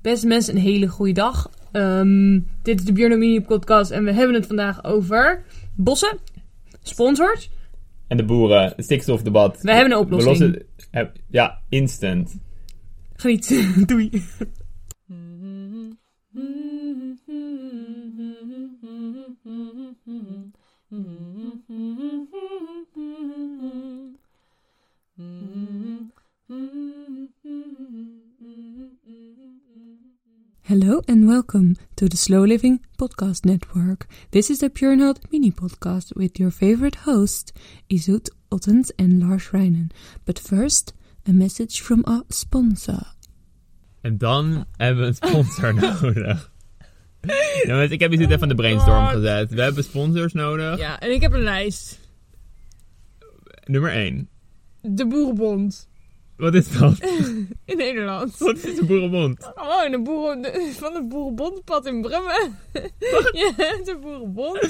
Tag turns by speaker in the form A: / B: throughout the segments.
A: Beste mensen, een hele goede dag. Ehm, dit is de Björnomini podcast en we hebben het vandaag over bossen, sponsors.
B: En de boeren, het stikstofdebat.
A: We hebben een oplossing.
B: We lossen- eh, ja, instant.
A: Geniet, doei.
C: Hello and welcome to the Slow Living Podcast Network. This is the Pure Health mini podcast with your favorite hosts, Izut Ottens and Lars Reinen. But first, a message from our sponsor.
B: En dan hebben we een sponsor nodig. Ja, mensen, ik heb hier even aan de brainstorm gezet. We hebben sponsors nodig.
A: Ja, en ik heb een lijst.
B: Nummer 1.
A: De Boerenbond
B: Wat is dat?
A: in Nederland.
B: Wat is de boerenbond?
A: Oh, de boeren, de- van het Boerenbondpad in Brummen. ja, de Boerenbond.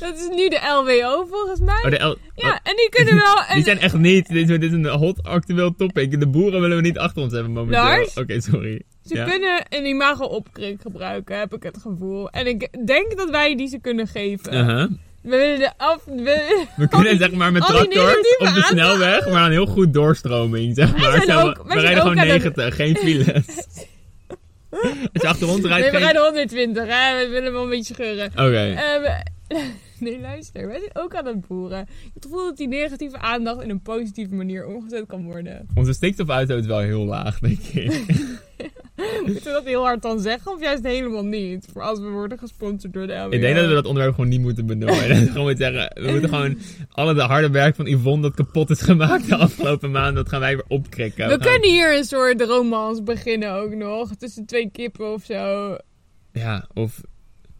A: Dat is nu de LWO volgens mij.
B: Oh, de L-
A: Ja, en die kunnen wel... En,
B: Die zijn echt niet. Dit is, dit is een hot actueel topic. De boeren willen we niet achter ons hebben momenteel.
A: Lars?
B: Oké, sorry.
A: Ze
B: Ja.
A: kunnen een imago opkrik gebruiken, heb ik het gevoel. En ik denk dat wij die ze kunnen geven.
B: Uh-huh.
A: We willen de af... We,
B: We
A: al die-
B: kunnen zeg maar met
A: al Oh, die
B: tractors
A: negatieve
B: op de
A: aantal-
B: snelweg, maar aan heel goed doorstroming. Zeg maar.
A: zijn
B: Zo,
A: ook- wij
B: we
A: zijn
B: rijden
A: ook
B: gewoon
A: aan de-
B: 90, geen files. Als je achter ons rijdt,
A: nee, we
B: geen-
A: rijden 120, hè. We willen wel een beetje scheuren.
B: Oké.
A: Ehm, nee, luister. Wij zijn ook aan het boeren. Ik heb het gevoel dat die negatieve aandacht in een positieve manier omgezet kan worden.
B: Onze stikstofuitstoot is wel heel laag, denk ik.
A: Moeten we dat heel hard dan zeggen? Of juist helemaal niet? Voor als we worden gesponsord door de LWO.
B: ik denk dat we dat onderwerp gewoon niet moeten benoemen. Dat we gewoon moeten zeggen, we moeten gewoon alle de harde werk van Yvonne dat kapot is gemaakt de afgelopen maand, dat gaan wij weer opkrikken.
A: We
B: gaan-
A: kunnen hier een soort romans beginnen ook nog. Tussen twee kippen of zo.
B: Ja, of...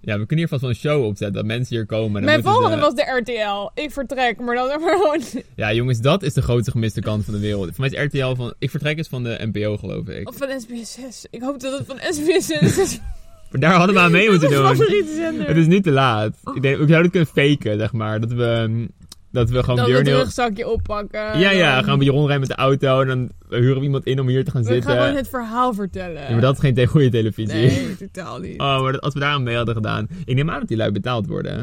B: Ja, we kunnen hier vast wel een show opzetten, dat mensen hier komen. Dan
A: Mijn
B: moeten
A: volgende
B: ze-
A: was de RTL. Ik vertrek, maar dan maar gewoon...
B: Ja, jongens, dat is de grootste gemiste kant van de wereld. Voor mij is RTL van... Ik vertrek is van de NPO, geloof ik.
A: Of van SBS6. Ik hoop dat het van SBS6 is.
B: Maar daar hadden we aan mee
A: Dat
B: moeten
A: is mijn
B: doen.
A: favoriete zender.
B: Het is nu te laat.
A: Oh.
B: Ik denk, we zouden het kunnen faken, zeg maar. Dat we, mm, dat we gewoon
A: Dan het
B: Björn heel...
A: rugzakje oppakken.
B: Ja, ja,
A: Dan-
B: gaan we hier rondrijden met de auto. En dan huren we iemand in om hier te gaan
A: We
B: zitten.
A: gaan gewoon het verhaal vertellen.
B: Ja, maar dat is geen te- goede televisie.
A: Nee, totaal niet.
B: Oh, maar dat, als we daar aan mee hadden gedaan. Ik neem aan dat die lui betaald worden. hè?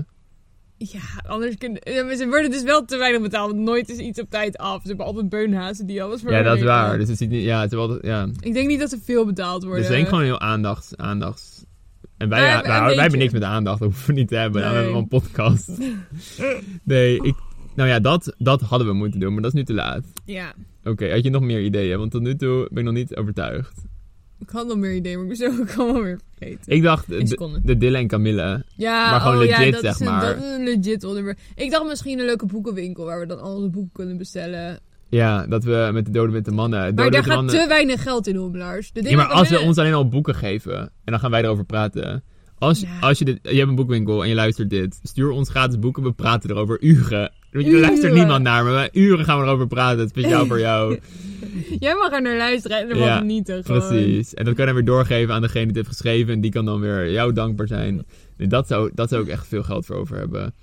A: Ja, anders kunnen... ja, maar Ze worden dus wel te weinig betaald, want nooit is iets op tijd af. Ze hebben altijd beunhazen die alles voor
B: Ja,
A: hun
B: dat is
A: regelen.
B: waar. Dus het ziet niet... Ja, het is wel... Ja.
A: Ik denk niet dat ze veel betaald worden.
B: Dus ik denk gewoon heel aandacht. aandacht. En wij,
A: Maar-
B: wij,
A: een
B: wij
A: beetje.
B: hebben niks met aandacht, dat hoeven we niet te hebben. Nou, we
A: Nee.
B: hebben wel een podcast. Nee, ik, nou ja, dat, dat hadden we moeten doen, maar dat is nu te laat.
A: Ja,
B: Oké, had je nog meer ideeën? Want tot nu toe ben ik nog niet overtuigd.
A: ik had nog meer ideeën, maar ik ben zo ook allemaal weer vergeten.
B: Ik dacht,
A: Eén
B: de,
A: seconde.
B: de Dylan en Camille.
A: Ja,
B: Maar gewoon
A: oh, ja,
B: legit,
A: dat
B: zeg
A: is een,
B: maar.
A: Dat is een legit onderwerp. Ik dacht misschien een leuke boekenwinkel waar we dan al onze boeken kunnen bestellen.
B: Ja, dat we met de Dode Witte Mannen... Dode
A: Maar daar
B: Witte
A: gaat
B: mannen,
A: te weinig geld in om, Lars. De
B: Ja,
A: dingen
B: maar als ze
A: kunnen-
B: ons alleen al boeken geven en dan gaan wij erover praten. Als,
A: Ja.
B: als je, dit, je hebt een boekwinkel en je luistert dit, stuur ons gratis boeken, we praten erover uren. Weet je, Er
A: Uren.
B: luistert niemand naar, maar wij- uren gaan we erover praten, speciaal voor jou.
A: Jij mag er naar luisteren en ervan
B: Ja,
A: genieten. Gewoon.
B: Precies. En dat kan je dan weer doorgeven aan degene die het heeft geschreven en die kan dan weer jou dankbaar zijn. Nee, dat, zou, dat zou ik echt veel geld voor over hebben.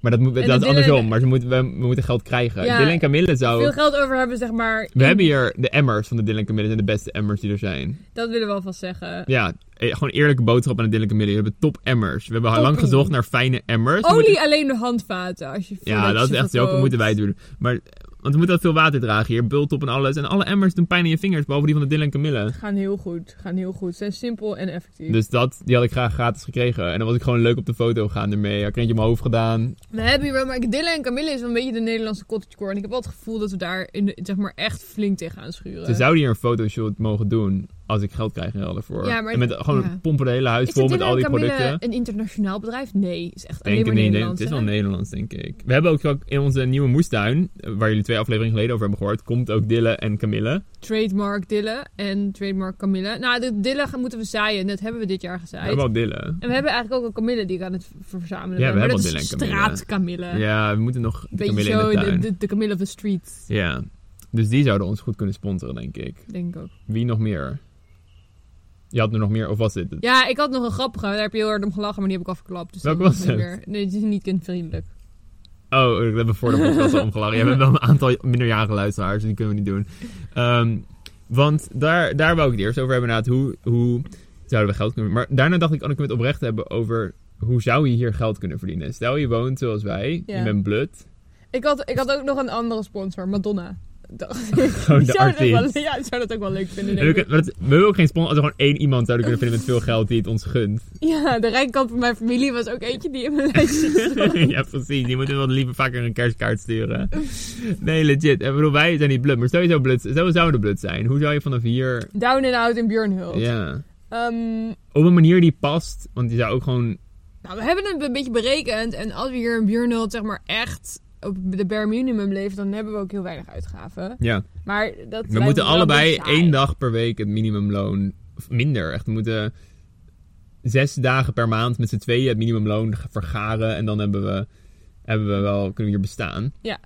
B: Maar dat, moet,
A: En
B: dat is
A: de
B: andersom,
A: Dylan-
B: maar ze moeten, we, we moeten geld krijgen.
A: Ja.
B: Dylan en Camille
A: Veel
B: zou...
A: geld over hebben, zeg maar.
B: Nou, We hebben hier de emmers van de Dylan en Camille zijn de beste emmers die er zijn.
A: Dat willen we alvast zeggen.
B: Ja, eh, gewoon eerlijke boodschap aan de Dylan Camille. We hebben top emmers. We hebben al lang
A: Toppie.
B: gezocht naar fijne emmers. We
A: Olie
B: moeten-
A: alleen de handvaten. Als je
B: ja, dat is echt zo. Dat moeten wij doen. Maar, want we moeten wel veel water dragen hier. Bult op en alles. En alle emmers doen pijn in je vingers, behalve die van de Dylan Camille.
A: Gaan heel goed. Gaan heel goed. Zijn simpel en effectief.
B: Dus dat, die had ik graag gratis gekregen. En dan was ik gewoon leuk op de foto gaan ermee. Had ik er eentje op mijn hoofd gedaan.
A: We hebben hier wel, maar ik- Dylan en Camille is wel een beetje de Nederlandse cottagecore. En ik heb wel het gevoel dat we daar in de- zeg maar echt flink tegenaan schuren.
B: Ze zouden hier een fotoshoot mogen doen. Als ik geld krijg in ruil ervoor.
A: Ja, maar-
B: en met, gewoon
A: ja.
B: pompen de hele huis
A: is
B: vol
A: het
B: met
A: Dylan
B: al die
A: en Camille
B: producten.
A: een internationaal bedrijf? Nee, is echt alleen
B: Denk het niet.
A: maar
B: Nee,
A: Nederlands.
B: het is
A: hè?
B: wel Nederlands, denk ik. We hebben ook in onze nieuwe moestuin, waar jullie twee afleveringen geleden over hebben gehoord, komt ook Dille en Camille.
A: Trademark Dille en trademark Camille. Nou, de Dille gaan- moeten we zaaien. en Dat hebben we dit jaar
B: We
A: gezaaid.
B: hebben al Dille.
A: En we hebben eigenlijk ook een Camille die ik aan het ver-
B: Ja,
A: verzamelen ben.
B: we
A: maar
B: hebben
A: dat
B: al
A: is
B: Dylan en
A: straat Camille.
B: Ja, we moeten nog
A: Een
B: Camille
A: beetje
B: in
A: zo
B: de
A: de,
B: tuin.
A: de, de Camille of the Street,
B: Ja. Dus die zouden ons goed kunnen sponsoren, denk ik.
A: denk ik ook.
B: Wie nog meer? Je had er nog meer, of was dit het?
A: Ja, ik had nog een grappige, daar heb je heel hard om gelachen, maar die heb ik afgeklapt. Dus
B: Welke
A: dat
B: was
A: is niet
B: het?
A: meer- Nee, het is niet kindvriendelijk.
B: Oh, we hebben voor de podcast al omgelachen. Ja, we hebben wel een aantal minderjarige luisteraars, dus die kunnen we niet doen. Ehm, want daar, daar wou ik het eerst over hebben, inderdaad. Hoe, hoe zouden we geld kunnen Maar daarna dacht ik, kan ik het oprecht hebben over hoe zou je hier geld kunnen verdienen? Stel je woont zoals wij,
D: Ja.
B: je bent blut.
A: Ik had, ik had ook nog een andere sponsor, Madonna. Dacht-
B: Gewoon
A: Die
B: Oh, de
A: zou dat ook wel-
B: artiest.
A: Ja, ik zou dat ook wel leuk vinden.
B: En
A: denk
B: we,
A: ik.
B: kunnen- maar dat- we hebben ook geen sponsor als we gewoon één iemand zouden kunnen vinden met veel geld die het ons gunt.
A: Ja, de rijkant van mijn familie was ook eentje die in mijn lijstje stond.
B: ja, precies. Die moeten wel liever vaker een kerstkaart sturen. Nee, legit. Ik bedoel, wij zijn niet blut, maar sowieso blut. Zo zouden blut zijn. Hoe zou je vanaf hier...
A: Down and out in Björnhult.
B: Ja.
A: Ehm,
B: Op een manier die past. Want je zou ook gewoon...
A: nou, we hebben het een beetje berekend. En als we hier in Björnhult zeg maar echt op de bare minimum leven, dan hebben we ook heel weinig uitgaven.
B: Ja.
A: Maar dat
B: We
A: lijkt
B: moeten
A: me wel een
B: allebei
A: beetje saai.
B: één dag per week het minimumloon... Of minder, echt. We moeten zes dagen per maand met z'n tweeën het minimumloon g- vergaren. En dan hebben we, hebben we wel... Kunnen we hier bestaan.
A: Ja.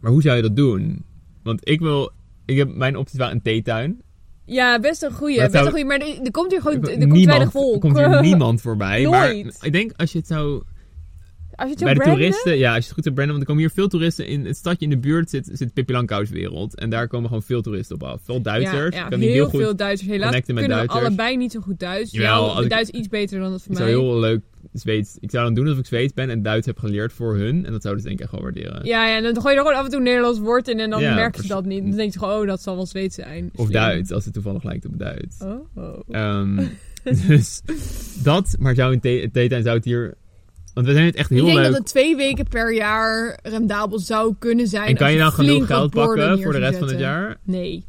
B: Maar hoe zou je dat doen? Want ik wil... Ik heb mijn opties wel een theetuin.
A: Ja, best een goeie.
B: Maar het
A: Best een
B: zou-
A: goeie. Maar er, er komt hier gewoon Oh, er komt
B: niemand,
A: weinig volk.
B: Er komt hier niemand voorbij.
A: Nooit.
B: Maar ik denk als je het zou...
A: Als je het zo
B: Bij de
A: branden-
B: toeristen... Ja, als je het goed zou branden. Want er komen hier veel toeristen. In het stadje in de buurt zit, zit Pippi Langkous wereld. En daar komen gewoon veel toeristen op af. Veel Duitsers.
A: Ja, ja
B: ik kan
A: heel,
B: niet heel goed...
A: veel Duitsers. Helaas
B: connecten
A: kunnen
B: met
A: we
B: Duitsers.
A: allebei niet zo goed Duits.
B: Jawel,
A: Jouw
B: als ik-
A: Duits iets beter dan dat van
B: Ik
A: mij.
B: zou heel leuk Zweeds... Ik zou dan doen alsof ik Zweeds ben en Duits heb geleerd voor hun. En dat zouden ze denk ik echt wel waarderen.
A: Ja, ja, dan gooi je er gewoon af en toe een Nederlands woord in en dan
B: Ja,
A: merk je
B: precies.
A: dat niet. Dan denk je gewoon, oh, dat zal wel Zweeds zijn.
B: Of Duits, als het toevallig lijkt op Duits.
A: Oh, oh.
B: Ehm, dus dat, maar zou een the- theetuin zou het hier... Want we zijn het echt heel
A: ik denk
B: leuk.
A: dat het twee weken per jaar rendabel zou kunnen zijn.
B: En kan
A: als
B: je dan
A: flink
B: genoeg
A: wat
B: geld
A: borden
B: pakken
A: neer
B: voor de
A: zou
B: rest van het
A: zetten?
B: jaar?
A: Nee.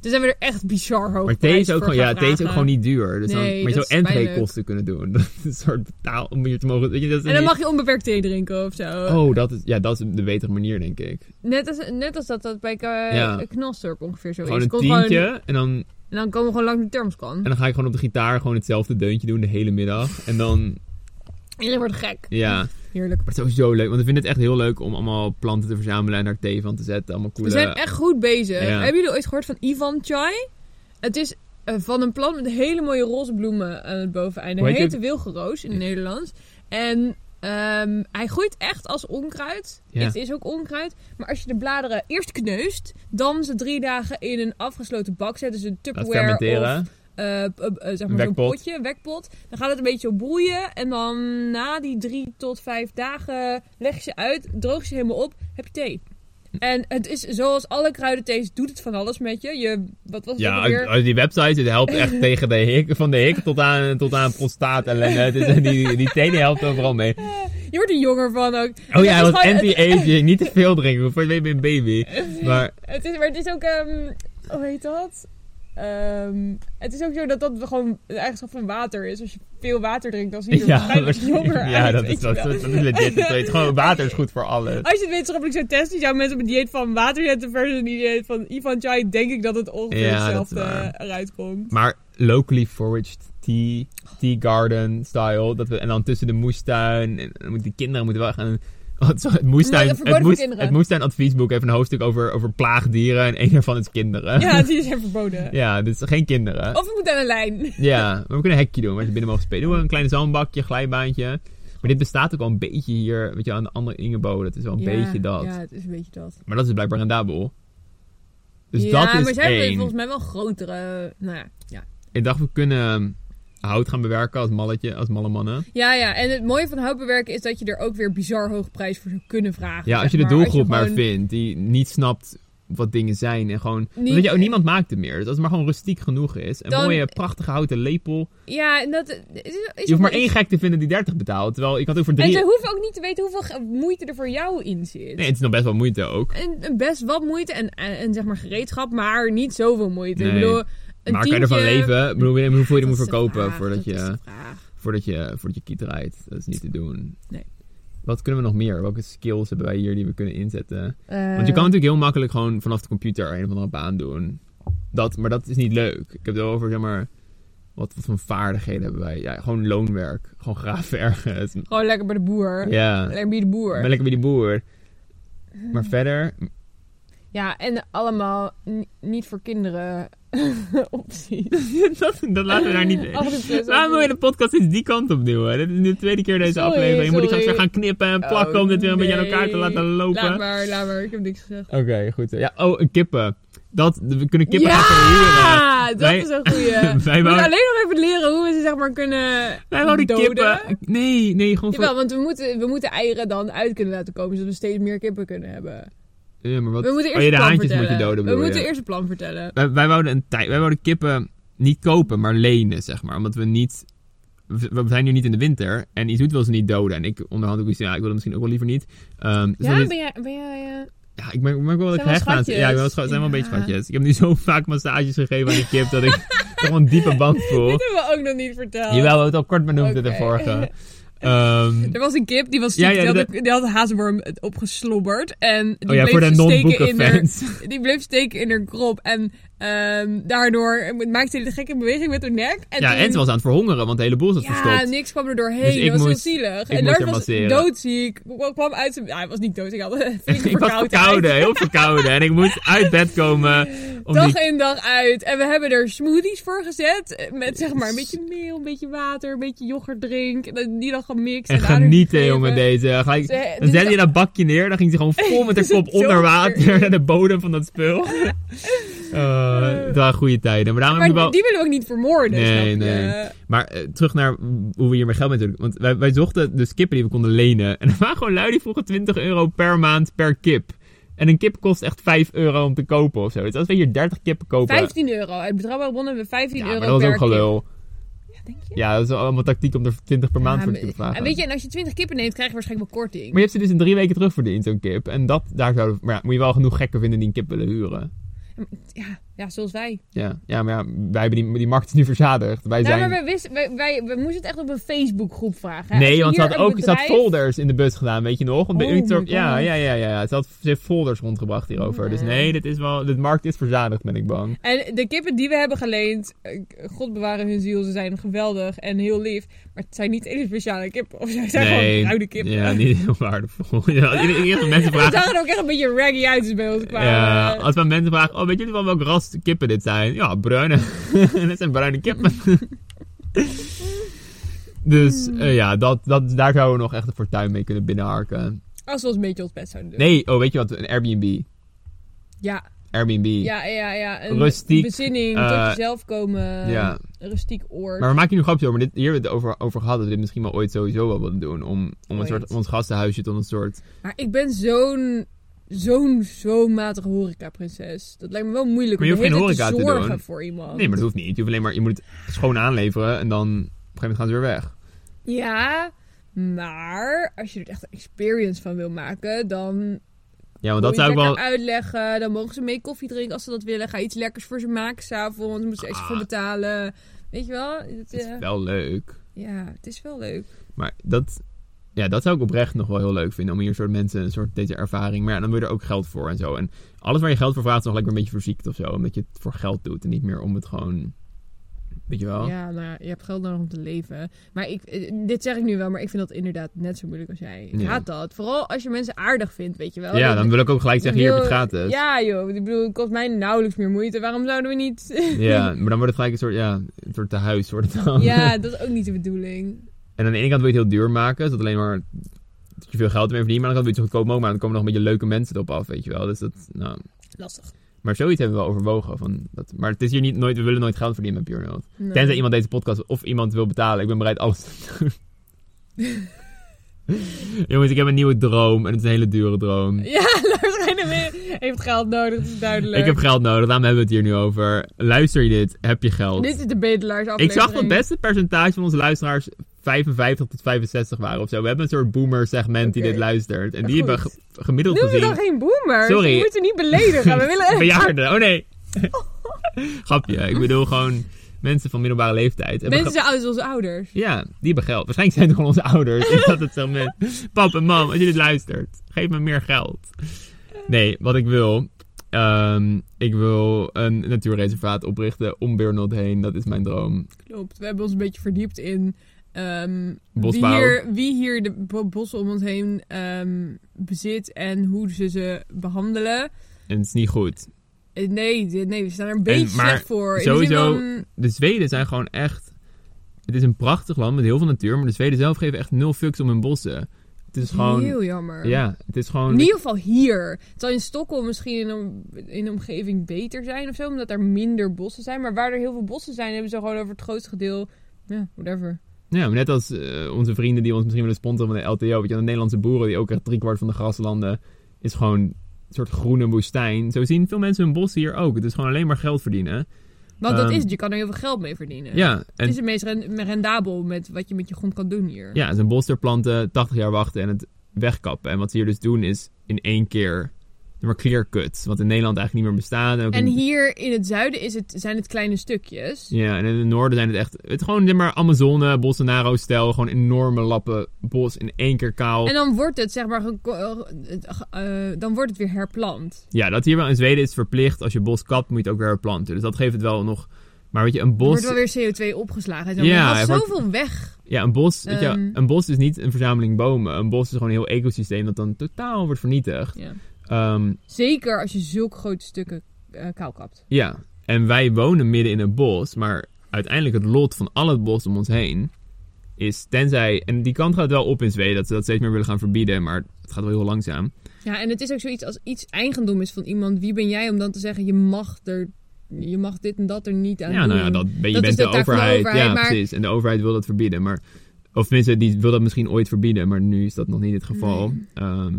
A: Dus hebben we er echt bizar hoog
B: Maar thee is
A: prijs
B: ook
A: voor
B: gewoon, ja,
A: gaan
B: thee is ook
A: vragen.
B: gewoon niet duur. Dus
A: Nee,
B: dan, maar je zou
A: dat is
B: en
A: pijnlijk.
B: kosten kunnen doen. Dat is een soort betaal om hier te mogen. Weet je, dat is
A: En dan
B: niet-
A: mag je onbeperkt thee drinken of zo.
B: Oh, dat is, ja, dat is de betere manier, denk ik.
A: Net, als, net als dat dat bij eh
B: Ja.
A: Knolstorp ongeveer zo
B: Gewoon
A: is.
B: een
A: Komt gewoon-
B: tientje. En, dan, en
A: en dan komen we gewoon langs de thermoskan.
B: dan ga ik gewoon op de gitaar gewoon hetzelfde deuntje doen de hele middag. En dan,
A: Iedereen wordt gek.
B: ja. Maar
A: Heerlijk.
B: het is sowieso leuk. Want we vinden het echt heel leuk om allemaal planten te verzamelen en daar thee van te zetten. Allemaal coole...
A: We zijn echt goed bezig.
B: eh, Ja.
A: Hebben jullie ooit gehoord van Ivan Chai? Het is eh, van een plant met hele mooie roze bloemen aan het boveneinde.
B: Hoe
A: Hij
B: heet
A: heet
B: het?
A: wilgenroos in het Nederlands. En ehm, hij groeit echt als onkruid.
B: Ja.
A: Het is ook onkruid. Maar als je de bladeren eerst kneust, dan ze drie dagen in een afgesloten bak zetten. ze een
B: Laat
A: Tupperware of
B: fermenteren.
A: eh, eh, eh, zeg maar zo'n
B: Wekpot.
A: potje, wekpot. Dan gaat het een beetje op broeien. En dan na die drie tot vijf dagen leg je ze uit, droog je ze helemaal op, heb je thee. En het is zoals alle kruidenthees, doet het van alles met je. je wat was het ook
B: Ja,
A: alweer?
B: uit- uit die website het helpt echt tegen de hik, van de hik tot aan, tot aan prostaat ellende. Het is- Die, die thee die helpt overal mee.
A: Je wordt er jonger van ook.
B: Oh ja,
A: Het is
B: want
A: gewoon- het-
B: anti-aging. Niet te veel drinken, voor je bent een baby. Maar
A: Het is, maar het is ook, ehm, hoe heet dat? Ehm, het is ook zo dat dat gewoon de eigenschap van water is. Als je veel water drinkt, dan zie je er waarschijnlijk jonger
B: ja,
A: uit,
B: dat
A: weet
B: is
A: je
B: wel
A: wel. Oh,
B: dat is legit. Dat weet. Gewoon water is goed voor alles.
A: Als je het wetenschappelijk zou testen, zou mensen op een dieet van water zetten versus een dieet van Ivan Chai, denk ik dat het ongeveer
B: Ja, dat is
A: hetzelfde eh,
B: waar.
A: eruit komt.
B: Maar locally foraged tea, tea garden style. Dat we, en dan tussen de moestuin. En dan moeten die kinderen moeten wel gaan. Oh, het, is- het moestuin,
A: Nee,
B: het,
A: verboden voor
B: moest-
A: kinderen.
B: het moestuin adviesboek heeft een hoofdstuk over, over plaagdieren. En een daarvan is kinderen.
A: Ja, die zijn verboden.
B: Ja, dus geen kinderen.
A: Of we moeten aan een lijn.
B: Ja, maar we kunnen een hekje doen waar ze binnen mogen spelen. Doen we een klein zandbakje, glijbaantje. Maar dit bestaat ook wel een beetje hier, weet je, aan de andere Ingebo. Dat is wel een beetje dat.
A: Ja, het is een beetje dat.
B: Maar dat is blijkbaar rendabel. Dus
A: ja,
B: dat is
A: maar zijn
B: één.
A: we volgens mij wel grotere... Nou ja, ja.
B: Ik dacht, we kunnen ehm, hout gaan bewerken als malletje, als malle mannen.
A: Ja, ja. En het mooie van houtbewerken is dat je er ook weer bizar hoge prijs voor zou kunnen vragen.
B: Ja, als je
A: zeg
B: de doelgroep maar,
A: gewoon-
B: vindt die niet snapt wat dingen zijn en gewoon...
A: Niet-
B: weet je, ook niemand maakt het meer. Dus als het maar gewoon rustiek genoeg is. Een
A: Dan-
B: mooie, prachtige houten lepel.
A: Ja, en dat eh, is, is
B: Je hoeft maar
A: ook-
B: één gek te vinden die 30 betaalt. Terwijl, ik had ook voor
A: En
B: drie...
A: ze hoeven ook niet te weten hoeveel ge- moeite er voor jou in zit.
B: Nee, het is nog best wel moeite ook.
A: En en best wat moeite en, en, en zeg maar gereedschap, maar niet zoveel moeite. Ik
B: Nee.
A: bedoel, een
B: maar kan je ervan
A: tientje-
B: leven? Ik bedoel, hoeveel je er moet
A: Dat is de
B: verkopen
A: vraag,
B: voordat,
A: dat is
B: je,
A: de vraag.
B: voordat, je, voordat je kiet rijdt? Dat is niet te doen.
A: Nee.
B: Wat kunnen we nog meer? Welke skills hebben wij hier die we kunnen inzetten?
A: Eh,
B: Want je kan natuurlijk heel makkelijk gewoon vanaf de computer een of andere baan doen. Dat, maar dat is niet leuk. Ik heb het wel over, zeg maar, wat, wat voor vaardigheden hebben wij? Ja, gewoon loonwerk. Gewoon graven ergens.
A: Gewoon lekker bij de boer.
B: Ja,
A: Lekker Eh. bij de boer.
B: ben lekker bij die boer. Maar verder,
A: Ja, en allemaal n- niet voor kinderen opties.
B: dat, dat laten we daar niet...
A: Oh, Afgekut,
B: Waarom wil je de podcast eens die kant op duwen? Dit is nu de tweede keer deze
A: Sorry,
B: aflevering. Je moet ik
A: sorry.
B: straks weer gaan knippen en plakken
A: Oh,
B: om dit weer een beetje aan
A: nee.
B: elkaar te laten lopen.
A: Laat maar, laat maar. Ik heb niks gezegd.
B: Oké, goed. Ja, oh, en kippen. Dat, we kunnen kippen
A: ja!
B: gaan verhuren.
A: dat
B: Wij-
A: is een goeie. We
B: Wij
A: moeten
B: wouden-
A: alleen nog even leren hoe we ze zeg maar kunnen
B: Nee, gewoon die
A: doden.
B: kippen. Nee, nee, gewoon
A: Jawel, want we moeten, we moeten eieren dan uit kunnen laten komen, zodat we steeds meer kippen kunnen hebben.
B: voor... Ja, maar wat...
A: We moeten eerst
B: oh, ja, de
A: een plan
B: haantjes
A: vertellen.
B: moet je doden,
A: we
B: bedoel
A: moeten
B: je?
A: eerst een plan vertellen.
B: Wij, wij wouden een tijd... Wij wouden kippen niet kopen, maar lenen, zeg maar. Omdat we niet... We we zijn nu niet in de winter en Izoet wil ze niet doden. En ik onderhand ook iets, ja, ik wil het misschien ook wel liever niet. Ehm, dus dan is-
A: Ja, ben jij... Ben jij eh,
B: Ja, ik merk, ik merk wel dat ik
A: Zijn wel
B: hecht aan ze. Ja, ik ben wel
A: schatjes.
B: scha- zijn wel een beetje
A: Ja.
B: schatjes. Ik heb nu zo vaak massages gegeven aan die kip dat ik toch een diepe band voel.
A: Dit hebben we ook nog niet verteld.
B: Jawel, we hebben het al kort benoemd in de
A: Oké.
B: vorige. Ehm,
A: Er was een kip, die was
B: Ja,
A: ziek,
B: ja,
A: die, had,
B: dat-
A: een- die had een hazenworm opgeslobberd. En die
B: oh ja,
A: bleef
B: voor de
A: steken in haar,
B: non-boeken-fans.
A: Die bleef steken in haar krop. En ehm, daardoor maakte hij de gekke beweging met haar nek. En
B: Ja,
A: toen-
B: en ze was aan het verhongeren, want de hele boel zat
A: Ja,
B: verstopt.
A: niks kwam er doorheen.
B: Dus ik
A: dat was
B: moest-
A: heel zielig.
B: ik
A: en
B: moest
A: Lars
B: haar
A: was
B: masseren.
A: doodziek. Ik kwam uit zijn... Ja, hij was niet dood. Ik had een
B: ik was verkouden, heel verkouden. En ik moest uit bed komen om
A: Dag
B: die
A: in dag uit. En we hebben er smoothies voor gezet. eh, Met zeg maar een beetje meel, een beetje water, een beetje yoghurt drink. En dat- die dan gemixt.
B: En
A: aan haar
B: genieten,
A: gegeven.
B: jongen, deze. Gelijk,
A: Ze-
B: dan
A: dit
B: zette je
A: is-
B: dat bakje neer, dan ging ze gewoon vol met haar
A: Ze
B: kop onder
A: zonk
B: water naar de bodem van dat spul. Eh, dat waren goede tijden. Maar, daarom heb ik wel...
A: Maar die willen we ook niet vermoorden,
B: Nee,
A: snap je?
B: nee. maar eh, terug naar hoe we hier meer geld mee doen. Want wij, wij zochten dus kippen die we konden lenen. En er waren gewoon lui die vroegen 20 euro per maand per kip. En een kip kost echt 5 euro om te kopen of zo. Dus als we hier 30 kippen kopen...
A: 15 euro. Uit betrouwbare bronnen hebben we 15
B: ja,
A: euro
B: maar dat is
A: per
B: ook gelul.
A: kip. Ja, denk je?
B: Ja, dat is allemaal tactiek om er 20 per maand
A: Ja,
B: voor
A: maar-
B: te vragen.
A: En weet je, en als je 20 kippen neemt, krijg je waarschijnlijk wel korting.
B: Maar je hebt ze dus in drie weken terugverdiend, zo'n kip. En dat, daar zouden, maar ja, moet je wel genoeg gekken vinden die een kip willen huren.
A: Ja, ja, zoals wij.
B: Ja, ja maar ja, wij hebben die, die markt is nu verzadigd. Wij
A: Nou,
B: zijn...
A: maar we, wisten, wij, wij, we moesten het echt op een Facebookgroep vragen. hè. Als
B: Nee,
A: je
B: want ze
A: hier
B: had
A: een
B: ook ze had
A: bedrijf-
B: folders in de bus gedaan, weet je nog? Want bij
A: Oh
B: Unictor-
A: my God.
B: ja, ja, ja, ja, ja. Ze, had, ze heeft folders rondgebracht hierover. Dus nee, dit is wel, de markt is verzadigd, ben ik bang.
A: En de kippen die we hebben geleend, eh, God bewaren hun ziel, ze zijn geweldig en heel lief. Maar het zijn niet hele speciale kippen. Of ze zijn
B: nee,
A: gewoon bruine kippen.
B: Ja, niet heel waardevol. Ja, iedere keer als mensen
A: Ze
B: vragen...
A: zagen er ook echt een beetje raggy uit als ze bij ons kwamen. eh,
B: Ja, als we aan mensen vragen, oh, weet jullie wel welk ras kippen dit zijn? Ja, bruine. dit zijn bruine kippen. dus
A: Hmm.
B: eh, ja, dat, dat, daar zouden we nog echt een fortuin mee kunnen binnenharken.
A: Als we ons een beetje ons best zouden doen.
B: Nee, oh, weet je wat? Een Airbnb.
A: Ja,
B: Airbnb.
A: ja, ja. ja. Een
B: Rustiek,
A: Bezinning,
B: eh,
A: tot jezelf komen.
B: Ja.
A: Een rustiek oord.
B: Maar we maken hier nu grapjes over, maar dit, hier hebben we het over, over gehad dat we dit misschien wel ooit sowieso wel willen doen. Om, om een
A: Ooit.
B: soort, ons gastenhuisje tot een soort...
A: Maar ik ben zo'n, zo'n, zo'n matige horeca-prinses. Dat lijkt me wel moeilijk
B: Maar je
A: om
B: hoeft
A: de
B: geen
A: hele tijd
B: horeca te
A: te zorgen
B: doen.
A: voor iemand.
B: Nee, maar dat hoeft niet. Je, hoeft alleen maar, je moet het schoon aanleveren en dan op een gegeven moment gaan ze weer weg.
A: Ja, maar als je er echt een experience van wil maken, dan
B: Ja, want
A: moet
B: dat zou
A: je het
B: ik wel...
A: lekker uitleggen. Dan mogen ze mee koffie drinken als ze dat willen. Ga iets lekkers voor ze maken s'avonds. Dan moeten ze extra voor
B: Ah.
A: betalen. Weet je wel? Het,
B: Het
A: eh,
B: is wel leuk.
A: ja, het is wel leuk.
B: Maar dat, ja, dat zou ik oprecht nog wel heel leuk vinden. Om hier soort mensen een soort deze ervaring. Maar ja, dan wil je er ook geld voor en zo. En alles waar je geld voor vraagt is nog lekker een beetje verziekt of zo. Omdat je het voor geld doet en niet meer om het gewoon. Weet je wel?
A: Ja, nou ja, je hebt geld nodig om te leven. Maar ik, eh, dit zeg ik nu wel, maar ik vind dat inderdaad net zo moeilijk als jij. Ik
B: Ja.
A: haat dat. Vooral als je mensen aardig vindt, weet je wel.
B: Ja,
A: Dat-
B: dan wil ik ook gelijk zeggen: hier heb je het gratis.
A: Ja joh, ik bedoel, het kost mij nauwelijks meer moeite. Waarom zouden we niet...
B: Ja, maar dan wordt het gelijk een soort, ja, een soort tehuis. Wordt het dan.
A: ja, dat is ook niet de bedoeling.
B: En aan de ene kant wil je het heel duur maken, zodat alleen maar dat je veel geld ermee verdient. Maar aan de andere kant wil je het zo goedkoop mogelijk, maar dan komen er nog een beetje leuke mensen erop af, weet je wel. Dus dat, nou.
A: Lastig.
B: Maar zoiets hebben we wel overwogen. Van dat, maar het is hier niet, nooit, we willen nooit geld verdienen met Pure Note.
A: Nee.
B: Tenzij iemand deze podcast of iemand wil betalen. Ik ben bereid alles te doen. Jongens, ik heb een nieuwe droom. En het is een hele dure droom.
A: Ja, Lars Rijnenweer heeft geld nodig, dat is duidelijk.
B: Ik heb geld nodig. Daarom hebben we het hier nu over. Luister je dit? Heb je geld?
A: Dit is de bedelaars
B: ik
A: aflevering.
B: zag dat het beste percentage van onze luisteraars 55 tot 65 waren of zo. We hebben een soort boomer segment die
A: Oké.
B: dit luistert. En
A: Maar
B: die hebben
A: goed.
B: ge- gemiddeld
A: Noem me dan
B: gezien...
A: geen dus boomers.
B: Sorry.
A: We moeten niet beledigen. We willen
B: Bejaarden. Oh nee. Grapje. Ik bedoel gewoon mensen van middelbare leeftijd. Hebben
A: Mensen zijn oud als onze ouders.
B: Ja, die hebben geld. Waarschijnlijk zijn het gewoon onze ouders. Ik had het zo met. Pap en mam, als je dit luistert, geef me meer geld. Nee, wat ik wil. ehm, ik wil een natuurreservaat oprichten om Burnold heen. Dat is mijn droom.
A: Klopt. We hebben ons een beetje verdiept in ehm, wie,
B: Bosbouw.
A: hier, wie hier de bo- bossen om ons heen ehm, bezit en hoe ze ze behandelen.
B: En het is niet goed.
A: Eh, Nee, de- nee we staan er een beetje
B: maar
A: slecht voor. In de zin
B: sowieso-
A: van-
B: De Zweden zijn gewoon echt. Het is een prachtig land met heel veel natuur, maar de Zweden zelf geven echt nul fucks om hun bossen. Het is gewoon...
A: Heel jammer.
B: Ja, het is gewoon...
A: In ieder geval hier. Het zal in Stockholm misschien in een, in een omgeving beter zijn of zo, omdat er minder bossen zijn. Maar waar er heel veel bossen zijn, hebben ze gewoon over het grootste deel. Ja, whatever.
B: Ja, maar net als eh, onze vrienden die ons misschien willen sponsoren van de LTO. Weet je, de Nederlandse boeren die ook echt driekwart van de graslanden is gewoon een soort groene woestijn. Zo zien veel mensen hun bos hier ook. Het is gewoon alleen maar geld verdienen.
A: Want dat
B: Ehm,
A: is het, je kan er heel veel geld mee verdienen.
B: Ja,
A: Het
B: en
A: is het meest ren- rendabel met wat je met je grond kan doen hier.
B: ja, het is een bos ter planten, 80 jaar wachten en het wegkappen. En wat ze hier dus doen is in één keer de maar clear cut. Wat in Nederland eigenlijk niet meer bestaat. En, ook
A: En
B: in-
A: hier in het zuiden is het, zijn het kleine stukjes.
B: Ja, en in het noorden zijn het echt... Het is gewoon zeg maar Amazone, Bolsonaro-stijl. Gewoon enorme lappen bos in één keer kaal.
A: En dan wordt het, zeg maar, geko- eh, eh, eh, dan wordt het weer herplant.
B: Ja, dat hier wel in Zweden is verplicht. Als je bos kapt, moet je het ook weer herplanten. Dus dat geeft het wel nog. Maar weet je, een
A: Er wordt
B: bos.
A: wel weer CO2 opgeslagen. en zo.
B: Ja,
A: Maar er
B: er
A: was
B: wordt-
A: zoveel weg.
B: Ja, een bos, weet je,
A: Ehm.
B: een bos is niet een verzameling bomen. Een bos is gewoon een heel ecosysteem dat dan totaal wordt vernietigd.
A: Ja.
B: Ehm,
A: Zeker als je zulke grote stukken eh kaal kapt.
B: ja, en wij wonen midden in een bos. Maar uiteindelijk het lot van al het bos om ons heen is tenzij. En die kant gaat wel op in Zweden, dat ze dat steeds meer willen gaan verbieden. Maar het gaat wel heel langzaam.
A: Ja, en het is ook zoiets als iets eigendom is van iemand. Wie ben jij om dan te zeggen, je mag, er, je mag dit en dat er niet aan
B: Ja,
A: doen?
B: nou ja, dat, je
A: Ehm, Dat is
B: bent
A: de
B: de,
A: taak van de
B: overheid.
A: overheid,
B: ja,
A: maar-
B: precies. En de overheid wil dat verbieden. Maar, of tenminste, die wil dat misschien ooit verbieden. Maar nu is dat nog niet het geval. Ehm,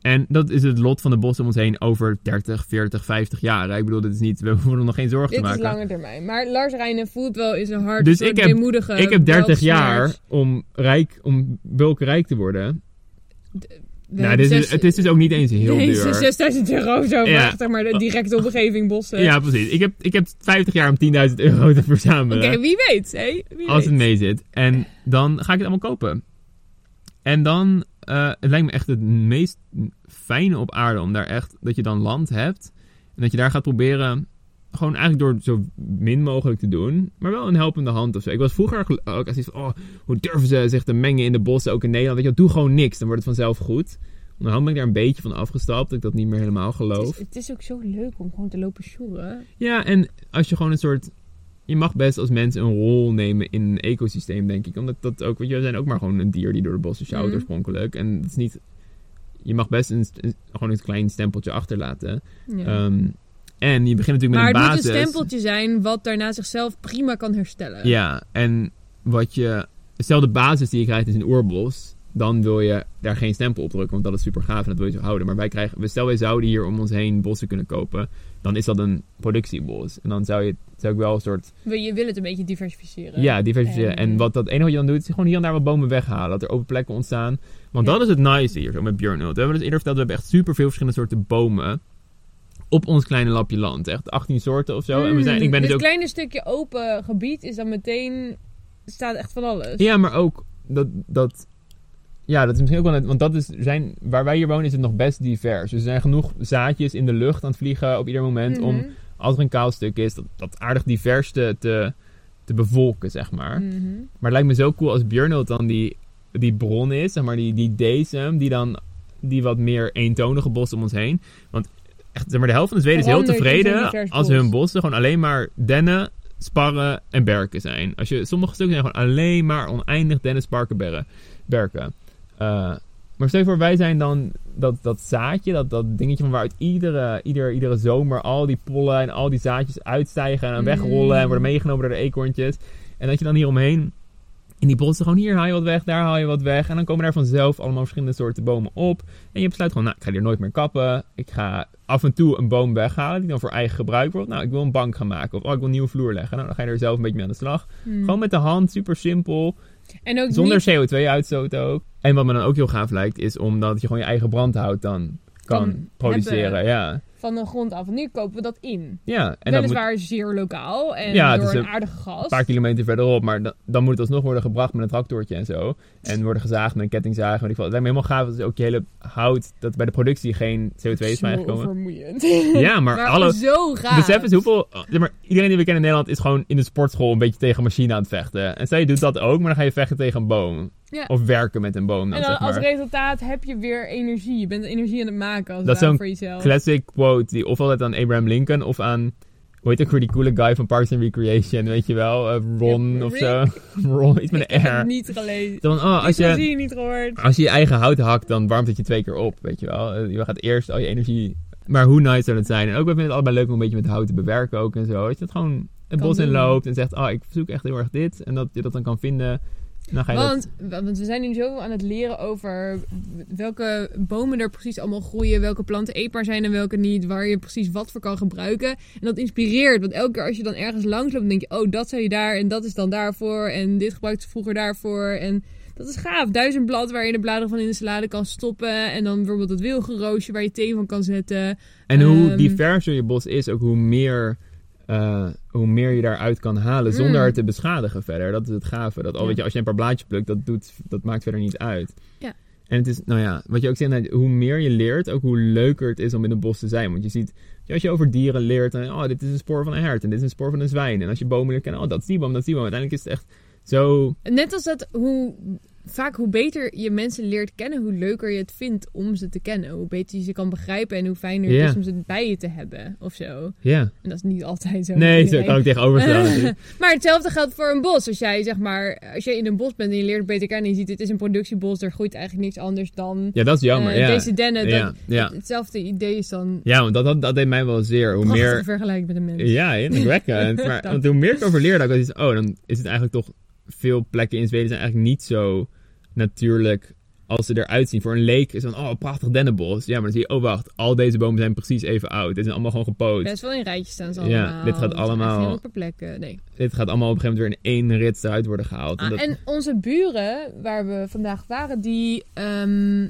B: en dat is het lot van de bossen om ons heen over 30, 40, 50 jaar. hè. Ik bedoel, dit is niet, we hoeven er nog geen zorgen
A: Dit
B: te
A: is
B: maken.
A: lange termijn. Maar Lars Rijnen voelt wel in zijn hart
B: Dus
A: een soort
B: ik heb-
A: weemoedige
B: Ik heb 30
A: welsmaak.
B: jaar om rijk, om bulkrijk te worden.
A: We
B: Nou,
A: hebben
B: dit is,
A: zes-
B: het is dus ook niet eens heel
A: nee,
B: duur.
A: 6000 euro zo,
B: Ja.
A: maar, zeg maar de directe omgeving bossen.
B: Ja, precies. Ik heb, ik heb 50 jaar om 10.000 euro te verzamelen.
A: Oké, wie weet, hè? Wie
B: eh, Als het
A: weet.
B: mee zit. En dan ga ik het allemaal kopen. En dan, eh, het lijkt me echt het meest fijne op aarde om daar echt, dat je dan land hebt. En dat je daar gaat proberen, gewoon eigenlijk door zo min mogelijk te doen. Maar wel een helpende hand of zo. Ik was vroeger gel- ook als iets van, oh, hoe durven ze zich te mengen in de bossen, ook in Nederland. Weet je, wel, doe gewoon niks, dan wordt het vanzelf goed. Onderhand ben ik daar een beetje van afgestapt, dat ik dat niet meer helemaal
A: Het
B: geloof.
A: is, het is ook zo leuk om gewoon te lopen sjoeren.
B: Ja, en als je gewoon een soort. Je mag best als mens een rol nemen in een ecosysteem, denk ik. Omdat dat ook. Want je, we zijn ook maar gewoon een dier die door de bossen sjouwt
A: Mhm.
B: oorspronkelijk. En het is niet. Je mag best een, een- gewoon een klein stempeltje achterlaten.
A: Ja.
B: Ehm, en je begint natuurlijk met
A: maar
B: een
A: het
B: basis.
A: moet een stempeltje zijn wat daarna zichzelf prima kan herstellen.
B: Ja, en wat je. Stel de basis die je krijgt is een oerbos. Dan wil je daar geen stempel op drukken, want dat is super gaaf en dat wil je zo houden. Maar wij krijgen, we- stel wij zouden hier om ons heen bossen kunnen kopen, dan is dat een productiebos. En dan zou, je, zou ik wel een soort
A: Maar Je wil het een beetje diversificeren.
B: Ja, diversificeren.
A: En- eh,
B: En wat dat enige wat je dan doet, is gewoon hier en daar wat bomen weghalen. Dat er open plekken ontstaan. Want
A: Ja.
B: dat is het nice hier zo met Björnhult. We hebben dus eerder verteld, we hebben echt superveel verschillende soorten bomen. Op ons kleine lapje land. Echt 18 soorten of zo. en we zijn, ik ben
A: Mm, dit
B: dus ook...
A: kleine stukje open gebied is dan meteen... staat echt van alles.
B: Ja, maar ook dat... dat ja, dat is misschien ook wel net, want dat is, zijn, waar wij hier wonen is het nog best divers. Dus er zijn genoeg zaadjes in de lucht aan het vliegen op ieder moment om,
A: Mhm.
B: als er een kaal stuk is, dat, dat aardig divers te, te, te bevolken, zeg maar.
A: Mhm.
B: Maar het lijkt me zo cool als Björnholt dan die, die bron is, zeg maar die, die decem, die dan die wat meer eentonige bossen om ons heen. Want echt, zeg maar, de helft van de Zweden is heel
A: Verandert in zo'n
B: tevreden
A: divers
B: als
A: bos.
B: hun bossen gewoon alleen maar dennen, sparren en berken zijn. Als je, sommige stukken zijn gewoon alleen maar oneindig dennen, sparken, berren, berken. Eh, maar stel je voor, wij zijn dan dat, dat zaadje, dat, dat dingetje van waaruit iedere, iedere, iedere zomer al die pollen en al die zaadjes uitstijgen
A: Mm.
B: en dan wegrollen en worden meegenomen door de eekhoorntjes. En dat je dan hier omheen in die bossen gewoon hier haal je wat weg, daar haal je wat weg. En dan komen daar vanzelf allemaal verschillende soorten bomen op. En je besluit gewoon, nou, ik ga hier nooit meer kappen. Ik ga af en toe een boom weghalen die dan voor eigen gebruik wordt. Nou, ik wil een bank gaan maken of oh, ik wil een nieuwe vloer leggen. Nou, dan ga je er zelf een beetje mee aan de slag.
A: Mhm.
B: Gewoon met de hand, super simpel.
A: En ook
B: Zonder
A: niet
B: CO2-uitstoot ook. En wat me dan ook heel gaaf lijkt, is omdat je gewoon je eigen brandhout dan kan
A: Kan
B: produceren.
A: hebben. dus
B: Ja.
A: van de grond af. Want nu kopen we dat in.
B: ja, en dat moet
A: Weliswaar zeer lokaal en
B: Ja, het
A: door
B: is
A: een
B: een
A: aardige gast.
B: een paar kilometer verderop, maar dan, dan moet het alsnog worden gebracht met een tractortje en zo. En worden gezaagd met een kettingzaag. Weet ik veel. Het lijkt me helemaal gaaf dat dus ook je hele hout, dat bij de productie geen CO2 is
A: Zo
B: vrijgekomen.
A: vermoeiend.
B: Ja, maar,
A: Maar
B: alle...
A: zo raar.
B: Besef eens hoeveel... oh, Zeg maar, iedereen die we kennen in Nederland is gewoon in de sportschool een beetje tegen een machine aan het vechten. En stel je doet dat ook, maar dan ga je vechten tegen een boom.
A: Ja.
B: Of werken met een boom dan,
A: En dan
B: zeg maar.
A: als resultaat heb je weer energie. Je bent energie aan het maken als
B: Dat is
A: het ware
B: zo'n
A: voor jezelf.
B: classic quote die of altijd aan Abraham Lincoln of aan Hoe heet ook weer die coole guy van Parks and Recreation, weet je wel? Eh, Ron
A: Ja,
B: of zo. Ron, iets met
A: Ik heb
B: een
A: het
B: R.
A: niet gelezen.
B: Dan, oh, als
A: ik heb
B: je,
A: het niet gehoord.
B: als je je eigen hout hakt, dan warmt het je twee keer op, weet je wel? Eh, Je gaat eerst al je energie... Maar hoe nice zou dat zijn? En ook, we vinden het allebei leuk om een beetje met hout te bewerken ook en zo. Dat je dat gewoon het
A: Kan
B: bos in
A: doen.
B: loopt en zegt, oh, ik zoek echt heel erg dit. En dat je dat dan kan vinden. Dan ga je dat...
A: Want, want we zijn nu zoveel aan het leren over welke bomen er precies allemaal groeien, welke planten eetbaar zijn en welke niet, waar je precies wat voor kan gebruiken. En dat inspireert, want elke keer als je dan ergens langs loopt, dan denk je, oh, dat zei je daar en dat is dan daarvoor en dit gebruikte ze vroeger daarvoor. En dat is gaaf. Duizend blad waar je de bladeren van in de salade kan stoppen en dan bijvoorbeeld dat wilgenroosje waar je thee van kan zetten.
B: En hoe
A: Ehm.
B: diverser je bos is, ook hoe meer, eh, hoe meer je daaruit kan halen zonder
A: Mm.
B: het te beschadigen verder. Dat is het gave. Dat, al,
A: Ja.
B: weet je, als je een paar blaadjes plukt, dat, doet, dat maakt verder niet uit.
A: Ja.
B: En het is, nou ja, wat je ook zegt, hoe meer je leert, ook hoe leuker het is om in een bos te zijn. Want je ziet, als je over dieren leert, dan, oh, dit is een spoor van een hert en dit is een spoor van een zwijn. En als je bomen leert kennen, oh, dat is die boom, dat is die boom. Uiteindelijk is het echt zo...
A: Net als dat hoe vaak hoe beter je mensen leert kennen, hoe leuker je het vindt om ze te kennen. Hoe beter je ze kan begrijpen en hoe fijner het
B: Ja.
A: is om ze bij je te hebben of zo.
B: Ja.
A: En dat is niet altijd zo.
B: Nee, zo
A: Iedereen.
B: kan ik tegenover staan. natuurlijk.
A: Maar hetzelfde geldt voor een bos. Als jij zeg maar, als je in een bos bent en je leert het beter kennen, en je ziet dit is een productiebos, er groeit eigenlijk niks anders dan
B: Ja, dat is jammer.
A: eh,
B: ja.
A: deze dennen. Dat,
B: ja, ja.
A: Hetzelfde idee is dan
B: ja, want dat, dat, dat deed mij wel zeer. Hoe
A: prachtig
B: meer,
A: te vergelijken met een mens.
B: Ja, indrukwekkend. maar
A: Dank.
B: want hoe meer ik over leer, dat ik dacht, oh, dan is het eigenlijk toch veel plekken in Zweden zijn eigenlijk niet zo natuurlijk als ze eruit zien. Voor een leek is dan, oh, prachtig dennenbos. Ja, maar dan zie je, oh, wacht, al deze bomen zijn precies even oud. Dit zijn allemaal gewoon gepoot.
A: Best wel in rijtjes staan ze
B: Ja,
A: allemaal.
B: dit gaat
A: Het is echt
B: allemaal-
A: niet per plekken. Nee.
B: Dit gaat allemaal op een gegeven moment weer in één rit eruit worden gehaald.
A: Ah,
B: En dat-
A: En onze buren, waar we vandaag waren, die, ehm,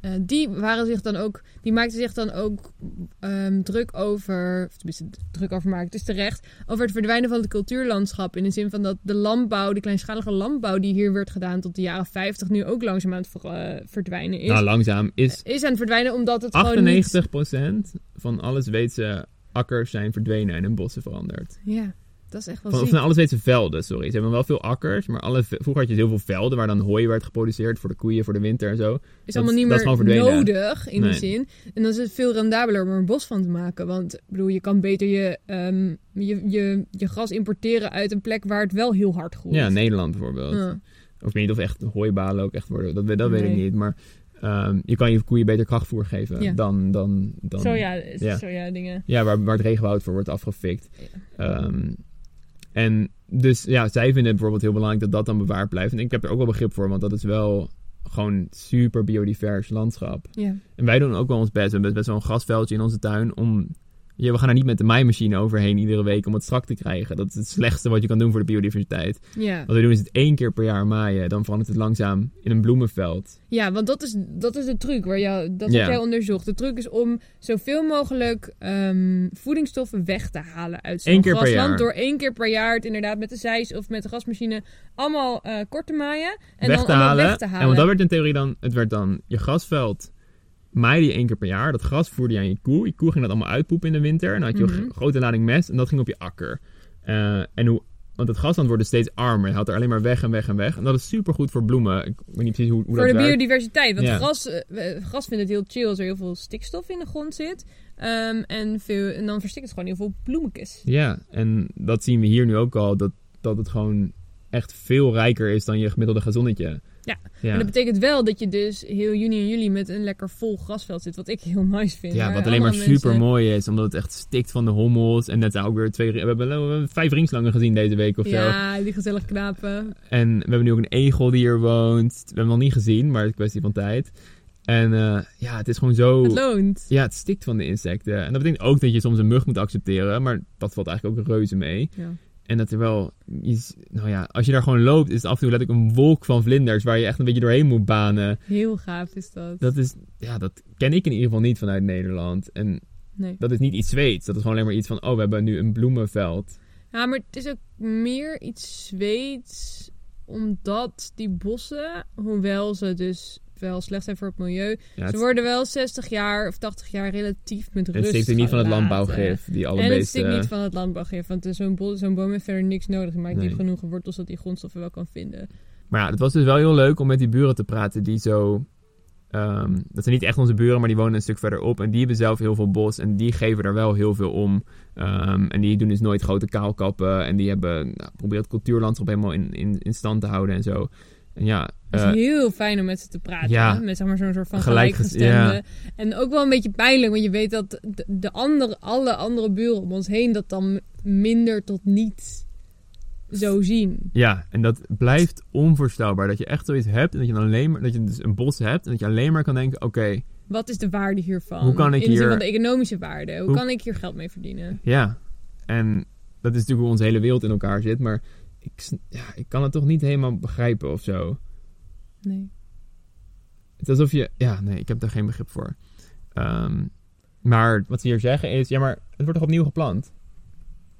A: eh, die, waren zich dan ook, die maakten zich dan ook ehm, druk over, of tenminste druk over maken, het is terecht, over het verdwijnen van het cultuurlandschap. In de zin van dat de landbouw, de kleinschalige landbouw die hier werd gedaan tot de jaren 50, nu ook langzaam aan het ver- eh, verdwijnen is. eh,
B: nou, langzaam is
A: is aan het verdwijnen omdat het gewoon niet...
B: 98% van alle Zweedse akkers zijn verdwenen en in bossen veranderd.
A: Ja, dat is echt wel
B: Van, of
A: ziek.
B: van alle Zweedse velden, sorry. Ze hebben wel veel akkers, maar alle, ve- vroeger had je dus heel veel velden waar dan hooi werd geproduceerd voor de koeien, voor de winter en zo.
A: is
B: Dat-
A: allemaal niet
B: dat is
A: meer
B: gewoon verdwenen.
A: nodig in
B: Nee.
A: die zin. En dan is het veel rendabeler om er een bos van te maken. Want ik bedoel, je kan beter je, ehm, je, je, je gras importeren uit een plek waar het wel heel hard groeit.
B: Ja, Nederland bijvoorbeeld.
A: Ja.
B: Of ik weet niet of echt hooibalen ook echt worden, dat, we- dat weet ik
A: Nee.
B: niet. Maar ehm, je kan je koeien beter krachtvoer geven
A: Ja.
B: dan, dan, dan...
A: Zo ja, is-
B: Ja.
A: Zo ja, dingen.
B: Ja, waar, waar het regenwoud voor wordt afgefikt. Ehm, en dus ja, zij vinden het bijvoorbeeld heel belangrijk dat dat dan bewaard blijft. En ik heb er ook wel begrip voor, want dat is wel gewoon super biodivers landschap.
A: Ja.
B: En wij doen ook wel ons best. We hebben best wel een grasveldje in onze tuin om... Ja, we gaan er niet met de maaimachine overheen iedere week om het strak te krijgen. Dat is het slechtste wat je kan doen voor de biodiversiteit.
A: Ja.
B: Wat we doen is het één keer per jaar maaien. Dan verandert het langzaam in een bloemenveld.
A: ja, want dat is, dat is de truc. Waar jou, dat
B: Ja.
A: heb jij onderzocht. De truc is om zoveel mogelijk ehm, voedingsstoffen weg te halen uit zo'n
B: Eén keer per
A: grasland.
B: jaar.
A: Door één keer per jaar het inderdaad met de zeis of met de grasmachine allemaal eh, kort te maaien. En
B: weg,
A: dan
B: te
A: allemaal
B: halen.
A: weg te halen.
B: En want dat werd in theorie dan... Het werd dan je grasveld... Maai die één keer per jaar. Dat gras voerde je aan je koe. Je koe ging dat allemaal uitpoepen in de winter. En dan had je
A: Mhm.
B: een grote lading mest. En dat ging op je akker. Eh, en hoe... Want het grasland wordt dus steeds armer. Je haalt er alleen maar weg en weg en weg. En dat is supergoed voor bloemen. Ik weet niet precies hoe, hoe
A: voor
B: dat
A: de
B: werkt.
A: biodiversiteit. Want
B: Ja.
A: gras, eh, eh, gras vindt het heel chill als er heel veel stikstof in de grond zit. Ehm, en, veel, en dan verstikt het gewoon heel veel bloemetjes.
B: Ja, en dat zien we hier nu ook al. Dat, dat het gewoon echt veel rijker is dan je gemiddelde gazonnetje.
A: Ja,
B: ja.
A: Maar dat betekent wel dat je dus heel juni en juli met een lekker vol grasveld zit. Wat ik heel nice vind.
B: ja
A: Maar
B: wat alleen maar
A: andere mensen-
B: super mooi is. Omdat het echt stikt van de hommels. En net zijn ook weer twee... We hebben, we hebben vijf ringslangen gezien deze week of zo.
A: Ja, die gezellig knapen.
B: En we hebben nu ook een egel die hier woont. We hebben hem nog niet gezien, maar het is kwestie van tijd. En eh, ja, het is gewoon zo...
A: Het loont.
B: ja, het stikt van de insecten. En dat betekent ook dat je soms een mug moet accepteren. Maar dat valt eigenlijk ook reuze mee.
A: Ja.
B: En dat er wel, iets- nou ja, als je daar gewoon loopt, is het af en toe letterlijk een wolk van vlinders waar je echt een beetje doorheen moet banen.
A: Heel gaaf is dat.
B: Dat is, ja, dat ken ik in ieder geval niet vanuit Nederland. En
A: Nee.
B: dat is niet iets Zweeds. Dat is gewoon alleen maar iets van, oh, we hebben nu een bloemenveld.
A: Ja, maar het is ook meer iets Zweeds. Omdat die bossen, hoewel ze dus wel slecht zijn voor het milieu,
B: Ja,
A: Ze
B: het,
A: worden wel 60 jaar of 80 jaar relatief met rust
B: het stikt ook niet van het
A: gelaten.
B: landbouwgif, die alle
A: En het
B: beesten...
A: stikt niet van het landbouwgif. Want eh, zo'n bo- zo'n boom heeft verder niks nodig. Je maakt
B: Nee.
A: niet genoeg wortels dat die grondstoffen wel kan vinden.
B: Maar ja, het was dus wel heel leuk om met die buren te praten die zo eh, ehm, dat zijn niet echt onze buren, maar die wonen een stuk verderop. En die hebben zelf heel veel bos en die geven er wel heel veel om. Ehm, en die doen dus nooit grote kaalkappen. En die hebben, nou, proberen het cultuurlandschap helemaal in, in, in stand te houden en zo. En ja,
A: Het
B: eh,
A: is heel fijn om met ze te praten.
B: ja.
A: hè? Met zeg maar, zo'n soort van
B: Gelijkges-
A: gelijkgestemde. En ook wel een beetje pijnlijk, want je weet dat de, de andere, alle andere buren om ons heen dat dan minder tot niet zo zien.
B: Ja, en dat blijft onvoorstelbaar. Dat je echt zoiets hebt en dat je dan alleen maar, dat je dus een bos hebt en dat je alleen maar kan denken: oké,
A: Wat is de waarde hiervan?
B: Hoe kan ik
A: In de zin
B: hier-
A: van de economische waarde. Hoe,
B: Hoe-
A: kan ik hier geld mee verdienen?
B: ja. En dat is natuurlijk hoe onze hele wereld in elkaar zit, maar ik, sn- ja, ik kan het toch niet helemaal begrijpen of zo.
A: Nee.
B: Het is alsof je, ja, nee, ik heb daar geen begrip voor. Ehm, maar wat ze hier zeggen is: ja, maar het wordt toch opnieuw geplant?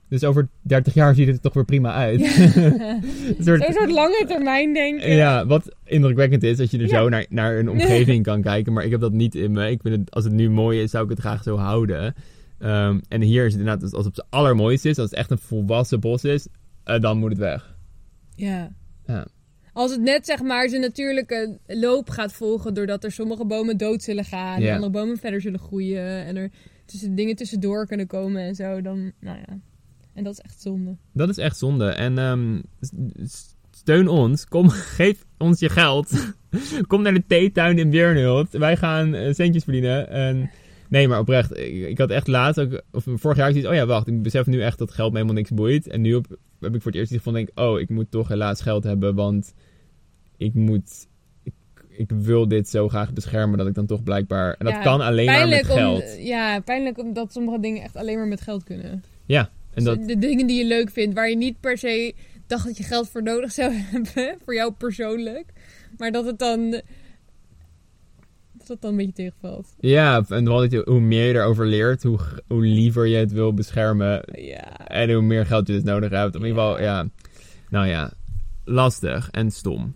B: Dus over 30 jaar ziet het er toch weer prima uit. Een soort-
A: Zo'n soort lange termijn denken.
B: Ja, wat indrukwekkend is dat je er
A: Ja.
B: zo naar, naar een omgeving kan kijken. Maar ik heb dat niet in me. Ik vind het, als het nu mooi is, zou ik het graag zo houden. Ehm, en hier is het inderdaad, als het op zijn allermooist is, als het echt een volwassen bos is, eh, dan moet het weg.
A: Ja.
B: Ja.
A: Als het net zeg maar zijn natuurlijke loop gaat volgen doordat er sommige bomen dood zullen gaan,
B: Ja.
A: en andere bomen verder zullen groeien en er tussen dingen tussendoor kunnen komen en zo, dan nou ja. En dat is echt zonde.
B: Dat is echt zonde. En ehm, s- s- steun ons. Kom, geef ons je geld. Kom naar de theetuin in Björnhult. Wij gaan eh, centjes verdienen. En... Nee, maar oprecht. Ik, ik had echt laatst, ook, of vorig jaar, zoiets. Oh ja, wacht. Ik besef nu echt dat geld me helemaal niks boeit. En nu op, heb ik voor het eerst iets van denk, ik, oh, ik moet toch helaas geld hebben, want ik moet. Ik, ik wil dit zo graag beschermen dat ik dan toch blijkbaar. En dat
A: Ja,
B: kan alleen maar met geld.
A: Om, ja, pijnlijk omdat sommige dingen echt alleen maar met geld kunnen.
B: En dat,
A: Dus De dingen die je leuk vindt, waar je niet per se dacht dat je geld voor nodig zou hebben, voor jou persoonlijk, maar dat het dan dat het dan een beetje tegenvalt.
B: ja, en vooral dat je, hoe meer je erover leert, hoe, gr- hoe liever je het wil beschermen.
A: Ja.
B: En hoe meer geld je dus nodig hebt. In ieder geval, ja. Nou ja, lastig en stom.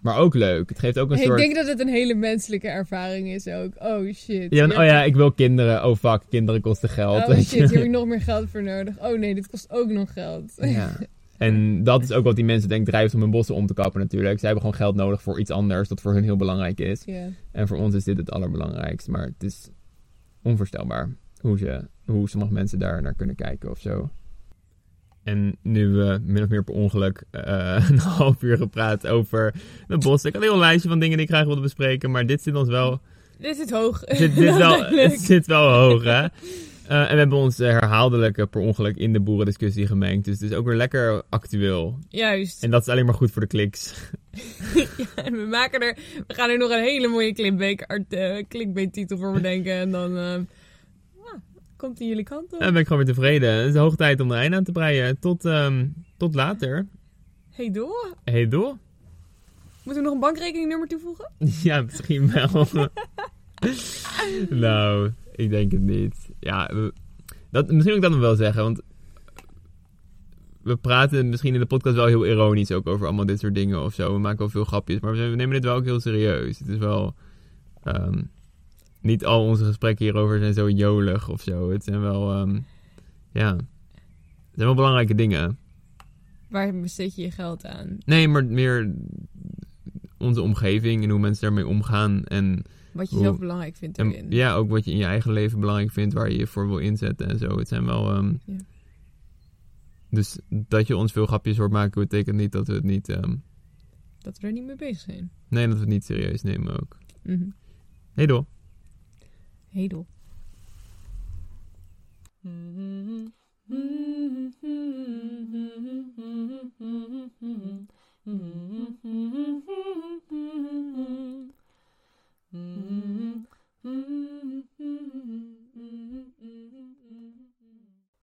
B: Maar ook leuk. Het geeft ook een
A: Hey,
B: soort...
A: Ik denk dat het een hele menselijke ervaring is ook. Oh shit.
B: Ja,
A: Hier
B: van, oh
A: heb
B: ja,
A: ik-
B: ik wil kinderen. Oh fuck, kinderen kosten geld.
A: Oh
B: Weet
A: shit,
B: je.
A: hier heb ik nog meer geld voor nodig. Oh nee, dit kost ook nog geld.
B: Ja. En dat is ook wat die mensen denk drijft om hun bossen om te kappen natuurlijk. Zij hebben gewoon geld nodig voor iets anders dat voor hun heel belangrijk is.
A: Ja.
B: En voor ons is dit het allerbelangrijkste. Maar het is onvoorstelbaar hoe, ze, hoe sommige mensen daar naar kunnen kijken of zo. En nu we min of meer per ongeluk eh, een half uur gepraat over de bossen. Ik had een heel lijstje van dingen die ik graag wilde bespreken. Maar dit zit ons wel,
A: Dit is het hoog.
B: zit, zit wel, het zit wel hoog, hè? Eh, en we hebben ons eh, herhaaldelijk eh, per ongeluk in de boerendiscussie gemengd. Dus het is ook weer lekker actueel.
A: Juist.
B: En dat is alleen maar goed voor de kliks.
A: En we maken er... We gaan er nog een hele mooie clickbait titel voor bedenken. En dan... eh, komt die jullie kant op.
B: En ben ik gewoon weer tevreden. Het is hoog tijd om er eind aan te breien. Tot, ehm, tot later.
A: Hey door.
B: Hey door?
A: Moeten we nog een bankrekeningnummer toevoegen?
B: Ja, misschien wel. nou, ik denk het niet. Ja, we- dat, misschien moet ik dat nog wel zeggen, want we praten misschien in de podcast wel heel ironisch ook over allemaal dit soort dingen of zo. We maken wel veel grapjes, maar we zijn- we nemen dit wel ook heel serieus. Het is wel... ehm, niet al onze gesprekken hierover zijn zo jolig of zo. Het zijn wel... ehm, ja, het zijn wel belangrijke dingen.
A: Waar besteed je je geld aan?
B: Nee, maar meer onze omgeving en hoe mensen daarmee omgaan. En,
A: Wat
B: je zelf Oeh.
A: belangrijk vindt
B: en ja, ook wat je in je eigen leven belangrijk vindt, waar je je voor wil inzetten en zo. Het zijn wel. ehm,
A: Ja.
B: Dus dat je ons veel grapjes hoort maken, betekent niet dat we het niet. ehm,
A: Dat we er niet mee bezig zijn. Mhm.
B: nee, dat we het niet serieus nemen ook. Hey, doe.
A: Hedel.